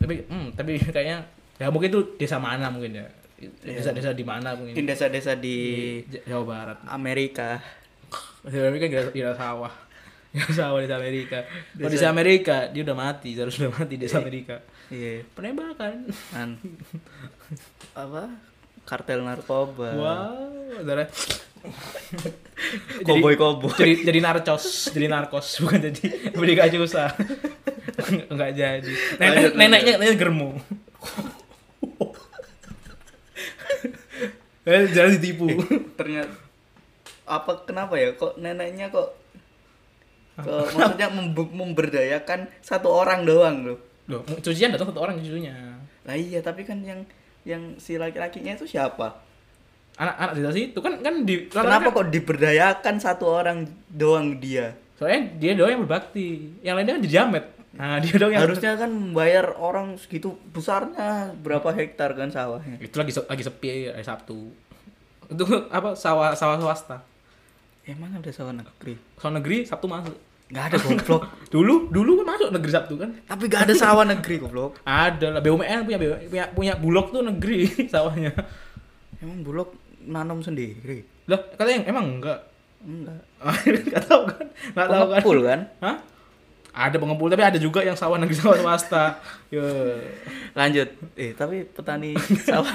S2: tapi hmm, tapi kayaknya ya mungkin itu desa mana mungkin ya desa-desa di mana
S1: di
S2: mungkin
S1: desa-desa di
S2: J- Jawa Barat
S1: Amerika
S2: di Amerika nggak nggak ada sawah nggak ada sawah di desa Amerika kalau
S1: Desa-
S2: desa Amerika dia udah mati harus udah mati desa Amerika
S1: iya
S2: penembakan
S1: kan apa kartel narkoba
S2: wow saudara Jadi-
S1: koboi koboi
S2: jadi jadi narcos jadi narkos bukan jadi beri aja usaha nggak jadi
S1: Lanjut,
S2: nenek
S1: lanjut.
S2: neneknya neneknya germo Eh, jangan ditipu
S1: ternyata apa kenapa ya kok neneknya kok kok maksudnya membe- memberdayakan satu orang doang loh
S2: loh cucian datang satu orang cucunya
S1: lah iya tapi kan yang yang si laki-lakinya itu siapa
S2: anak-anak desa situ kan kan di
S1: kenapa kok diberdayakan satu orang doang dia
S2: soalnya dia doang yang berbakti yang lainnya kan jadi jamet nah dia doang yang
S1: harusnya kan membayar orang segitu besarnya berapa hektar kan sawahnya
S2: itu lagi se- lagi sepi hari Sabtu itu apa sawah sawah swasta
S1: emang ada sawah negeri
S2: sawah negeri Sabtu masuk
S1: nggak ada goblok
S2: dulu dulu kan masuk negeri Sabtu kan
S1: tapi nggak ada sawah negeri goblok
S2: Ada lah BUMN punya BUMN, punya punya bulog tuh negeri sawahnya.
S1: emang bulog nanam sendiri
S2: Lah katanya emang enggak.
S1: enggak
S2: Enggak tahu kan. Enggak tahu kan.
S1: Pengepul kan
S2: Hah? Ada pengepul tapi ada juga yang sawah negeri sawah swasta. Yo.
S1: lanjut eh tapi petani sawah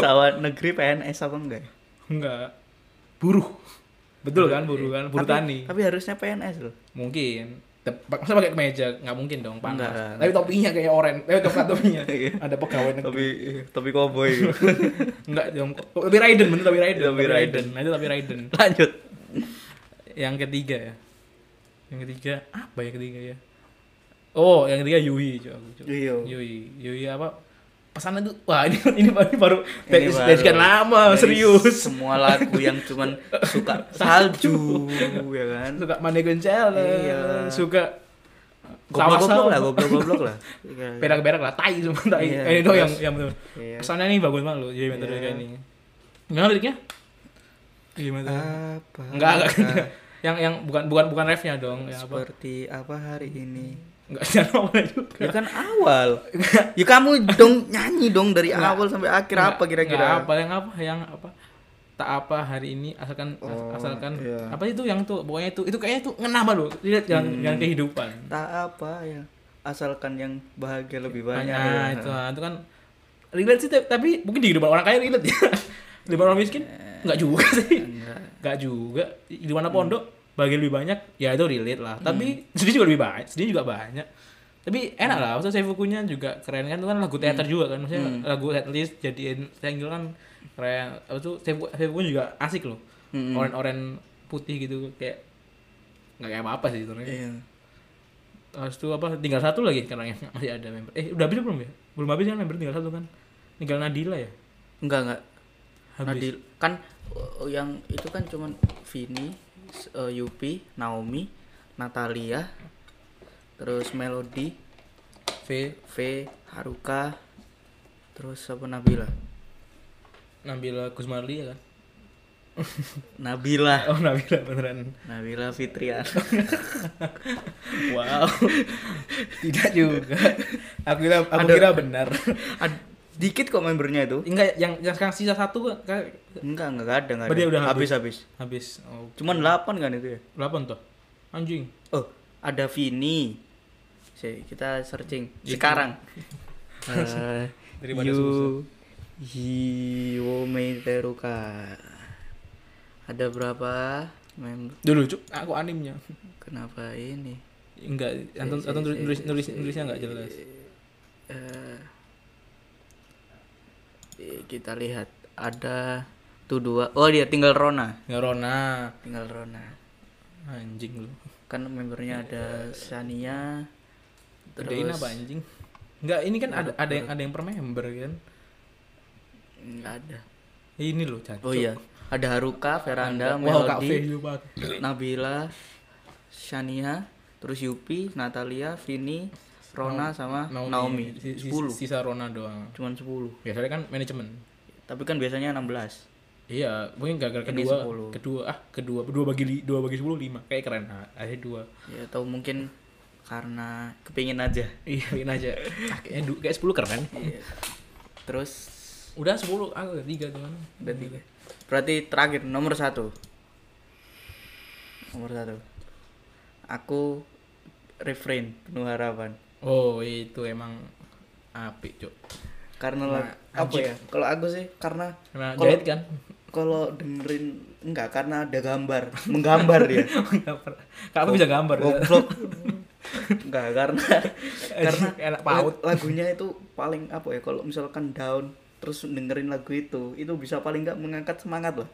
S1: sawah negeri PNS apa enggak ya?
S2: Enggak. Buruh. Betul kan buruh kan buruh
S1: tapi,
S2: tani.
S1: tapi harusnya PNS loh
S2: Mungkin. Tep- Masa pakai kemeja? Nggak mungkin dong, panas.
S1: Enggak.
S2: Tapi topinya kayak oren. Eh, topi topinya.
S1: Iya.
S2: ada pegawai negeri.
S1: tapi tapi koboi
S2: Enggak dong. Tapi Raiden, bener tapi Raiden.
S1: Topi Raiden.
S2: Nah, itu tapi Raiden.
S1: lanjut
S2: yang ketiga ya yang ketiga apa yang ketiga ya oh yang ketiga Yui cuy aku, cuy.
S1: Yui.
S2: Yui Yui apa pesannya tuh wah ini ini baru ini baru dari,
S1: baru.
S2: dari sekian lama
S1: Dari
S2: serius
S1: semua lagu yang cuman suka salju ya kan
S2: suka Manegon Challenge
S1: Iya.
S2: suka
S1: goblok goblok
S2: sawah-sawah.
S1: lah goblok goblok lah
S2: Iya, berak-berak lah tai semua tai
S1: Iya,
S2: eh, itu
S1: terus.
S2: yang yang betul
S1: Iya.
S2: pesannya nih bagus banget loh Yui metode
S1: Iya.
S2: kayak ini gimana liriknya gimana
S1: Ah, apa
S2: enggak enggak
S1: ah.
S2: enggak. yang yang bukan bukan bukan refnya dong ya apa
S1: seperti apa hari ini
S2: enggak jangan apa juga
S1: Ya kan awal. ya kamu dong nyanyi dong dari
S2: Nggak.
S1: awal sampai akhir
S2: Nggak-
S1: apa kira-kira?
S2: nggak apa yang apa yang apa tak apa hari ini asalkan as-
S1: Oh,
S2: asalkan
S1: iya.
S2: apa itu yang tuh pokoknya itu itu kayaknya itu ngenah banget loh lihat jalan
S1: Hmm.
S2: jalan kehidupan
S1: Tak apa ya. Asalkan yang bahagia lebih banyak.
S2: nah,
S1: ya.
S2: itu nah, itu kan relate sih tapi- tapi mungkin di kehidupan orang kaya relate ya di kehidupan orang miskin
S1: Iya.
S2: nggak juga sih
S1: Nggak.
S2: nggak juga di mana pondok bagi lebih banyak ya itu relate lah tapi sedih juga lebih banyak sedih juga banyak tapi enak lah maksudnya saya bukunya juga keren kan itu kan lagu teater juga kan maksudnya lagu at least jadiin single kan keren Habis itu saya bukunya juga asik loh
S1: Mm-mm.
S2: oren-oren putih gitu kayak nggak kayak apa-apa sih sebenarnya
S1: Iya.
S2: Habis itu apa tinggal satu lagi sekarang yang masih ada member eh udah habis belum ya belum habis kan member tinggal satu kan tinggal Nadila ya
S1: Enggak enggak.
S2: habis
S1: Nadil kan eh, yang itu kan cuman Vini, s- eh, Yupi, Naomi, Natalia, terus Melody,
S2: V
S1: V, Haruka, terus apa Nabila?
S2: Nabila Kusmarli ya kan
S1: Nabila.
S2: oh Nabila beneran
S1: Nabila Fitriana.
S2: Wow. Tidak juga. Aku kira aku
S1: Ada-
S2: kira benar.
S1: Ad- dikit kok membernya itu.
S2: Enggak yang yang sekarang sisa satu kan- kan
S1: Enggak, enggak enggak ada, enggak
S2: Berarti
S1: ada.
S2: udah habis.
S1: habis habis.
S2: habis. Oh,
S1: Cuman 8 kan itu ya?
S2: 8 toh. Anjing.
S1: Oh, ada Vini. Si, kita searching sekarang. Gitu. Eh,
S2: Daripada
S1: Yu Hiwome Teruka. Ada berapa member?
S2: Dulu cuk, aku animnya.
S1: Kenapa ini?
S2: Enggak, antum antum nulis nulis, nulis nulisnya enggak jelas.
S1: Eh, eh, kita lihat ada tuh dua. Oh, dia tinggal Rona.
S2: Ngerona.
S1: Tinggal Rona.
S2: Anjing lu.
S1: Kan membernya ada Sania.
S2: Gedein apa anjing? Enggak, ini kan ada ada yang ada yang per member kan.
S1: nggak ada
S2: Ini loh, Chan.
S1: oh iya ada Haruka Veranda
S2: Wow, Kak
S1: Melody
S2: Iya, Fe juga.
S1: Nabila Shania terus Yupi Natalia Vini Rona sama Naomi,
S2: Si- si-
S1: 10
S2: Sisa Rona doang.
S1: cuman 10
S2: Biasanya kan manajemen.
S1: tapi kan biasanya 16
S2: Iya, mungkin gara-gara
S1: Ini
S2: kedua,
S1: 10.
S2: kedua ah kedua dua bagi li- dua bagi sepuluh lima kayak keren ah, akhirnya dua.
S1: ya atau mungkin karena kepingin aja
S2: Iya, bikin aja. Ah, kayaknya du- kayak sepuluh keren.
S1: terus
S2: Udah sepuluh, ah udah tiga teman.
S1: udah tiga berarti terakhir nomor satu nomor satu aku refrain penuh harapan
S2: Oh itu emang apik cok.
S1: karena
S2: Nah,
S1: lag- apa
S2: anjing.
S1: ya kalau aku sih karena
S2: Karena
S1: Kalau-
S2: jahit kan.
S1: kalau dengerin enggak karena ada gambar menggambar ya
S2: Kamu bisa gambar. ya.
S1: goblok enggak karena karena
S2: Enak paut.
S1: lag- lagunya itu paling apa ya kalau misalkan down terus dengerin lagu itu itu bisa paling nggak mengangkat semangat lah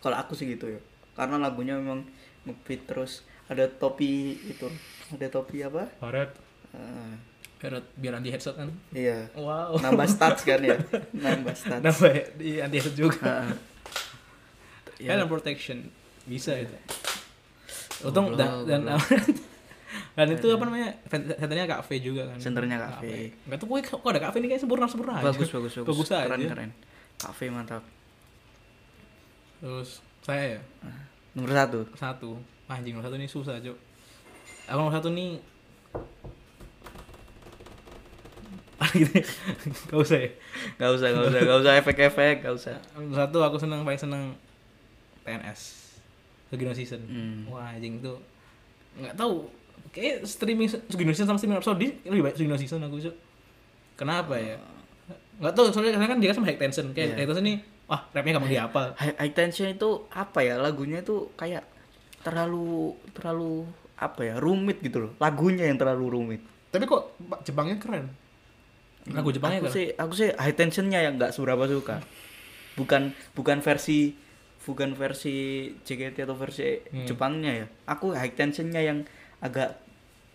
S1: kalau aku sih gitu ya karena lagunya memang ngebeat terus ada topi itu ada topi apa
S2: Barat.
S1: Eh,
S2: Barat biar anti headset kan.
S1: iya
S2: Wow.
S1: nambah stats kan ya nambah stats
S2: Nambah ya, di anti headset juga.
S1: Heeh. Iya.
S2: Head protection bisa itu. Untung
S1: Goblok,
S2: dan dan
S1: goblok.
S2: dan itu apa namanya? Senternya Kak V juga kan.
S1: Senternya Kak V.
S2: Enggak tuh gue kok ada Kak V ini kayak sempurna-sempurna aja.
S1: bagus bagus bagus
S2: Bagus aja.
S1: Ya. keren keren kafe mantap
S2: Terus saya ya,
S1: nomor satu
S2: satu. Ah, Anjing nomor satu ini susah, Cok. Aku nomor satu nih Ah, gitu ya. Gak usah ya.
S1: Gak usah, gak usah, gak usah efek-efek, gak usah.
S2: Nomor satu aku seneng paling seneng TNS. Sugino season.
S1: Hmm.
S2: Wah, anjing tuh nggak tahu. Kayak streaming Sugino season sama streaming Arab Saudi lebih banyak Sugino season aku Cuk. Kenapa ya? Nggak tahu soalnya karena kan dia kan sama Hike Tension. Kayak
S1: Iya.
S2: Hike Tension nih, wah, rapnya gampang dihafal.
S1: High, high tension itu apa ya? Lagunya itu kayak terlalu terlalu apa ya? Rumit gitu loh. Lagunya yang terlalu rumit.
S2: Tapi kok Jepangnya keren. Lagu Jepangnya
S1: aku
S2: keren.
S1: sih aku sih high tensionnya yang nggak seberapa suka. Bukan bukan versi bukan versi JKT atau versi
S2: Hmm.
S1: Jepangnya ya. Aku high tensionnya yang agak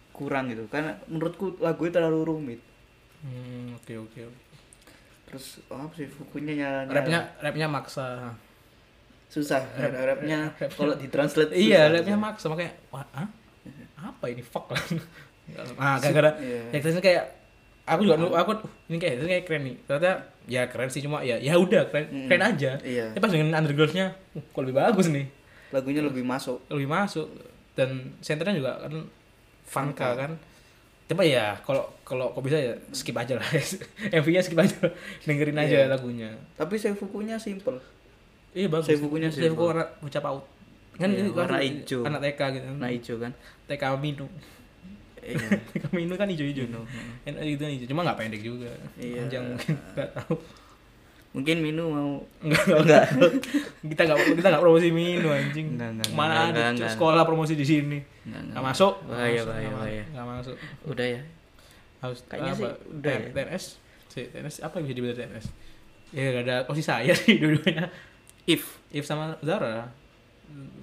S1: kurang gitu. Karena menurutku lagunya terlalu rumit.
S2: Hmm, oke oke. oke.
S1: Terus oh, apa sih fukunya nyala
S2: Rapnya rapnya maksa.
S1: susah rap rapnya kalau ditranslate
S2: Iya,
S1: susah.
S2: rapnya maksa makanya wah, hah? apa ini fuck lah. Nah, gara-gara
S1: Iya.
S2: Hike Tension kayak aku juga nunggu aku "Uh, ini kayak ini kayak keren nih. Ternyata ya keren sih cuma ya ya udah keren
S1: Mm-mm.
S2: keren aja.
S1: Iya.
S2: Tapi pas dengan undergroundnya, uh, kok lebih bagus nih.
S1: lagunya
S2: Iya.
S1: lebih masuk
S2: lebih masuk dan senternya juga kan Vanka kan cuma ya kalau kalau kok bisa ya skip aja lah MV-nya skip aja dengerin aja
S1: Iya.
S2: lagunya
S1: tapi seifukunya simple
S2: iya bagus
S1: Seifukunya
S2: saya
S1: simple.
S2: warna bocah paut kan
S1: Iya,
S2: ini
S1: warna
S2: kan
S1: ijo.
S2: anak TK gitu kan
S1: warna hijau kan
S2: TK Minu
S1: iya
S2: TK Minu kan hijau-hijau
S1: Minu,
S2: enak gitu kan hijau cuma nggak pendek juga
S1: Iya.
S2: panjang mungkin nggak tahu
S1: mungkin Minu mau
S2: Oh, Enggak,
S1: enggak
S2: kita nggak kita nggak promosi Minu anjing
S1: Nggak, nggak, nggak,
S2: mana
S1: nggak,
S2: ada
S1: nggak.
S2: sekolah promosi di sini
S1: Nggak, nggak.
S2: nggak masuk
S1: Bahaya,
S2: nggak masuk,
S1: bahaya,
S2: nggak ma-
S1: bahaya.
S2: nggak masuk
S1: udah ya
S2: harus
S1: Kayaknya
S2: apa,
S1: sih udah ya.
S2: TNS sih TNS apa yang bisa dibilang TNS ya gak ada posisi saya sih dua-duanya
S1: if
S2: If sama Zara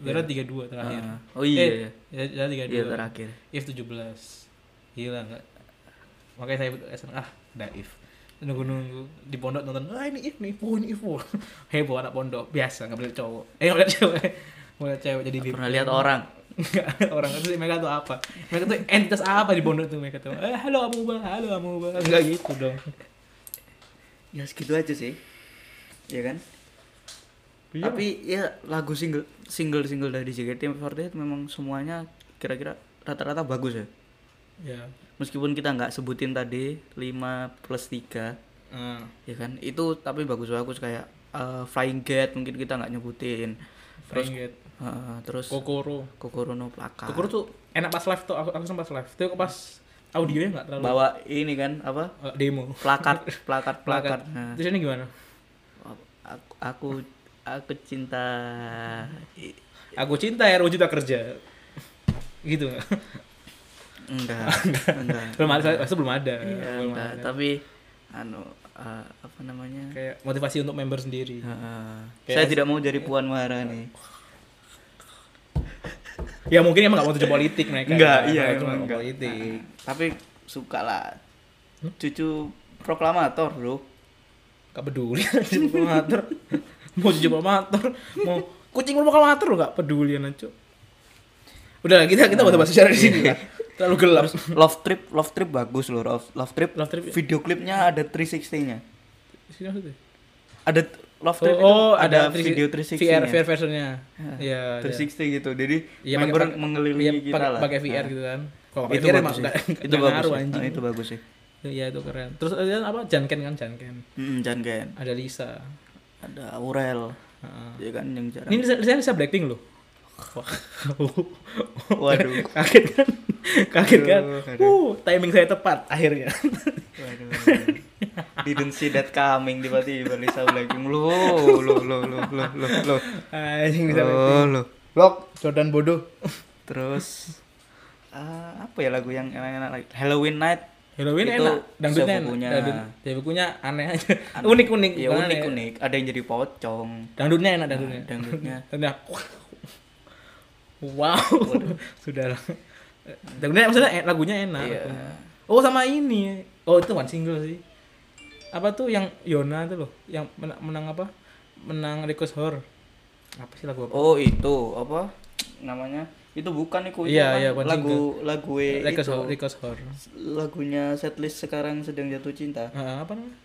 S2: Zara tiga dua terakhir
S1: Iya. Ah, oh iya
S2: eh, ya, Zara tiga
S1: iya
S2: dua
S1: terakhir
S2: If tujuh belas gila nggak makanya saya SN ah ada If nunggu-nunggu di pondok nonton ah ini If nih oh ini If oh. heboh anak pondok biasa nggak boleh cowok eh nggak boleh cewek nggak boleh cewek jadi
S1: Nggak
S2: VIP.
S1: pernah lihat orang
S2: Nggak, orang itu mereka tuh apa? Mereka tuh entitas apa di pondok tuh mereka tuh? Eh, halo Amuba, halo Amuba. Enggak gitu dong.
S1: ya segitu aja sih ya kan
S2: Iya.
S1: tapi ya lagu single single single dari JKT48 memang semuanya kira-kira rata-rata bagus ya
S2: ya.
S1: meskipun kita nggak sebutin tadi 5 plus 3
S2: Eh,
S1: ya kan itu tapi bagus-bagus kayak eh, Flying Gate mungkin kita nggak nyebutin
S2: terus
S1: terus eh, terus
S2: Kokoro.
S1: Kokoro no Plaka
S2: Kokoro tuh enak pas live tuh aku aku sempat live. Tapi kok pas audionya enggak terlalu
S1: Hmm. bawa ini kan apa
S2: eh, demo.
S1: plakat plakat plakat
S2: Plakat.
S1: Nah,
S2: Terus ini gimana?
S1: aku, aku aku cinta I-
S2: Aku cinta ya cinta kerja. Gitu enggak?
S1: enggak enggak
S2: belum ada, pasti belum ada.
S1: Iya,
S2: belum
S1: enggak.
S2: ada.
S1: tapi anu eh, apa namanya
S2: Kayak motivasi untuk member sendiri.
S1: Heeh.
S2: Kayak-
S1: saya tidak mau jadi Puan Maharani
S2: ya mungkin emang enggak mau tujuan politik mereka.
S1: enggak iya
S2: Mereka cuma
S1: emang
S2: mau
S1: enggak
S2: politik. Hmm?
S1: Nah, tapi suka lah cucu proklamator bro
S2: gak peduli anjing mau matur mau cuci mau matur mau kucing mau makan matur gak peduli anjing Cuk. udah kita kita
S1: Nah,
S2: mau bahas secara di sini
S1: iya.
S2: lah terlalu gelap
S1: Love Trip, Love Trip bagus loh. Love, Love Trip.
S2: Love Trip. iya.
S1: Video klipnya ada 360-nya.
S2: Sini maksudnya.
S1: Ada t- Love
S2: oh,
S1: Trip itu
S2: oh,
S1: ada,
S2: ada
S1: video 360.
S2: 360 VR,
S1: -nya.
S2: VR versionnya ya ada.
S1: 360 gitu. Jadi
S2: Iya, pakai-
S1: member
S2: pakai-
S1: mengelilingi
S2: iya,
S1: kita
S2: pakai-
S1: lah.
S2: pakai VR
S1: Nah,
S2: gitu kan kalau pakai
S1: Itu
S2: VR
S1: bagus.
S2: emang
S1: sih.
S2: nggak
S1: Itu
S2: nggak
S1: bagus.
S2: ngaruh
S1: sih.
S2: anjing
S1: Nah, itu bagus sih.
S2: iya itu keren terus ada apa Janken kan Janken
S1: Hmm, jangan kayak
S2: ada Lisa
S1: ada Aurel.
S2: Heeh.
S1: Ya kan yang jarang.
S2: Ah. ini Lisa, Lisa, Lisa Blackpink loh
S1: Waduh.
S2: kaget kan kaget kan
S1: Aduh,
S2: uh timing saya tepat akhirnya
S1: Waduh. Didn't see that coming tiba-tiba Lisa Blackpink. Lo, lo, lo, lo, lo, lo, lo. Oh.
S2: anjing Lisa Blackpink
S1: Lo, lo.
S2: blok Jordan bodoh
S1: Terus eh, apa ya lagu yang enak-enak lagi? Halloween Night.
S2: Halloween
S1: Itu
S2: enak dangdutnya enak
S1: sepupunya.
S2: dangdut ya bukunya aneh aja unik unik
S1: Ya unik unik. Ada yang jadi pocong.
S2: dangdutnya enak dangdutnya
S1: Ah, dangdutnya.
S2: Dangdutnya. wow sudah lah dangdutnya maksudnya eh, lagunya enak
S1: Iya.
S2: lagunya. oh sama ini oh itu one single sih apa tuh yang Yona tuh loh yang menang, menang apa menang request horror apa sih lagu apa
S1: Oh itu apa namanya? Itu bukan itu, itu
S2: Iya,
S1: kan
S2: iya, bukan
S1: lagu lagu eh,
S2: request
S1: itu.
S2: horror request horror
S1: Lagunya setlist sekarang sedang jatuh cinta.
S2: Eh, apa namanya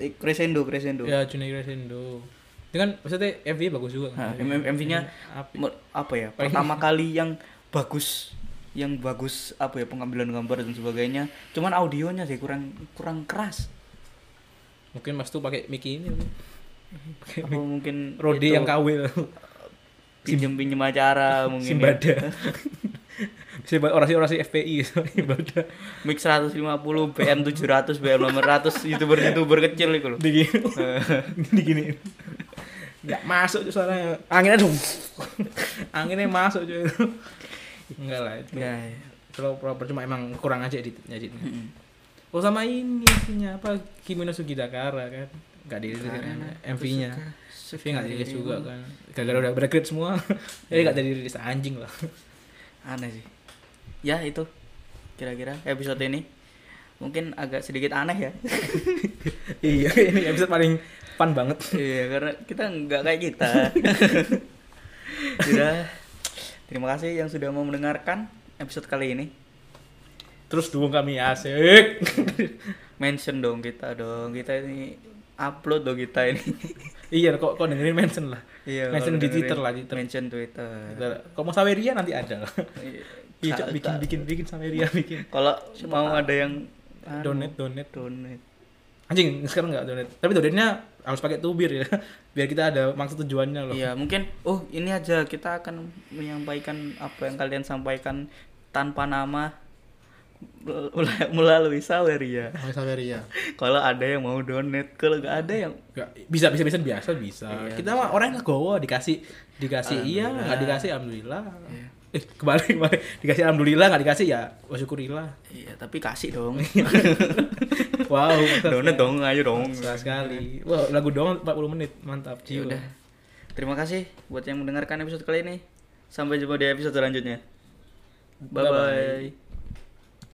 S1: Eh, Crescendo Crescendo.
S2: ya Juni Crescendo itu kan maksudnya MV bagus juga kan?
S1: Nah, MV-nya
S2: Api.
S1: apa ya? Pertama kali yang bagus yang bagus apa ya pengambilan gambar dan sebagainya. Cuman audionya sih kurang kurang keras.
S2: mungkin mas tuh pakai mic ini
S1: Apa mungkin
S2: Rode
S1: itu-
S2: yang kawil
S1: pinjam pinjam acara mungkin ya.
S2: Simbada Simba orasi orasi FPI Simbada
S1: mix 150 BM 700 BM nomor 100 youtuber youtuber kecil Eh, itu loh
S2: digini digini nggak masuk tuh suaranya anginnya dong anginnya masuk cuy enggak lah itu
S1: ya,
S2: kalau proper cuma emang kurang aja editnya editnya oh sama ini nya apa Kimi no Sugidakara kan nggak di edit kan MV-nya MV nggak dirilis juga kan gara-gara udah berkrit semua jadi nggak jadi rilis anjing lah
S1: aneh sih ya itu kira-kira episode ini mungkin agak sedikit aneh ya
S2: iya ini episode paling fun banget
S1: iya karena kita nggak kayak kita sudah terima kasih yang sudah mau mendengarkan episode kali ini
S2: terus dukung kami asik
S1: mention dong kita dong kita ini upload dong kita ini
S2: iya kok kok dengerin mention lah
S1: Iya,
S2: Mention
S1: kalau
S2: di
S1: dengerin,
S2: Twitter lah, Twitter.
S1: mention Twitter
S2: Ntar- Kalau mau saweria nanti ada lah Iya, Cak, bikin bikin bikin saweria bikin
S1: Kalau mau ada yang anu,
S2: donate donate
S1: donate.
S2: anjing sekarang nggak donate tapi donate-nya harus pakai tubir ya biar kita ada maksud tujuannya loh
S1: Iya, mungkin oh ini aja kita akan menyampaikan apa yang kalian sampaikan tanpa nama mel- melalui Saweria.
S2: Pakai saweria
S1: Kalau ada yang mau donate, kalau nggak ada yang
S2: Nggak, bisa bisa bisa biasa bisa
S1: Iya,
S2: kita mah orang yang legowo dikasih dikasih iya nggak dikasih alhamdulillah
S1: Iya.
S2: eh kembali kembali dikasih alhamdulillah nggak dikasih ya wasyukurillah
S1: Iya, tapi kasih dong.
S2: wow
S1: donate dong, ayo dong.
S2: Sekali sekali. Wah, lagu doang 40 menit. Mantap,
S1: Ya
S2: jiwa.
S1: udah. Terima kasih buat yang mendengarkan episode kali ini. Sampai jumpa di episode selanjutnya. Bye bye.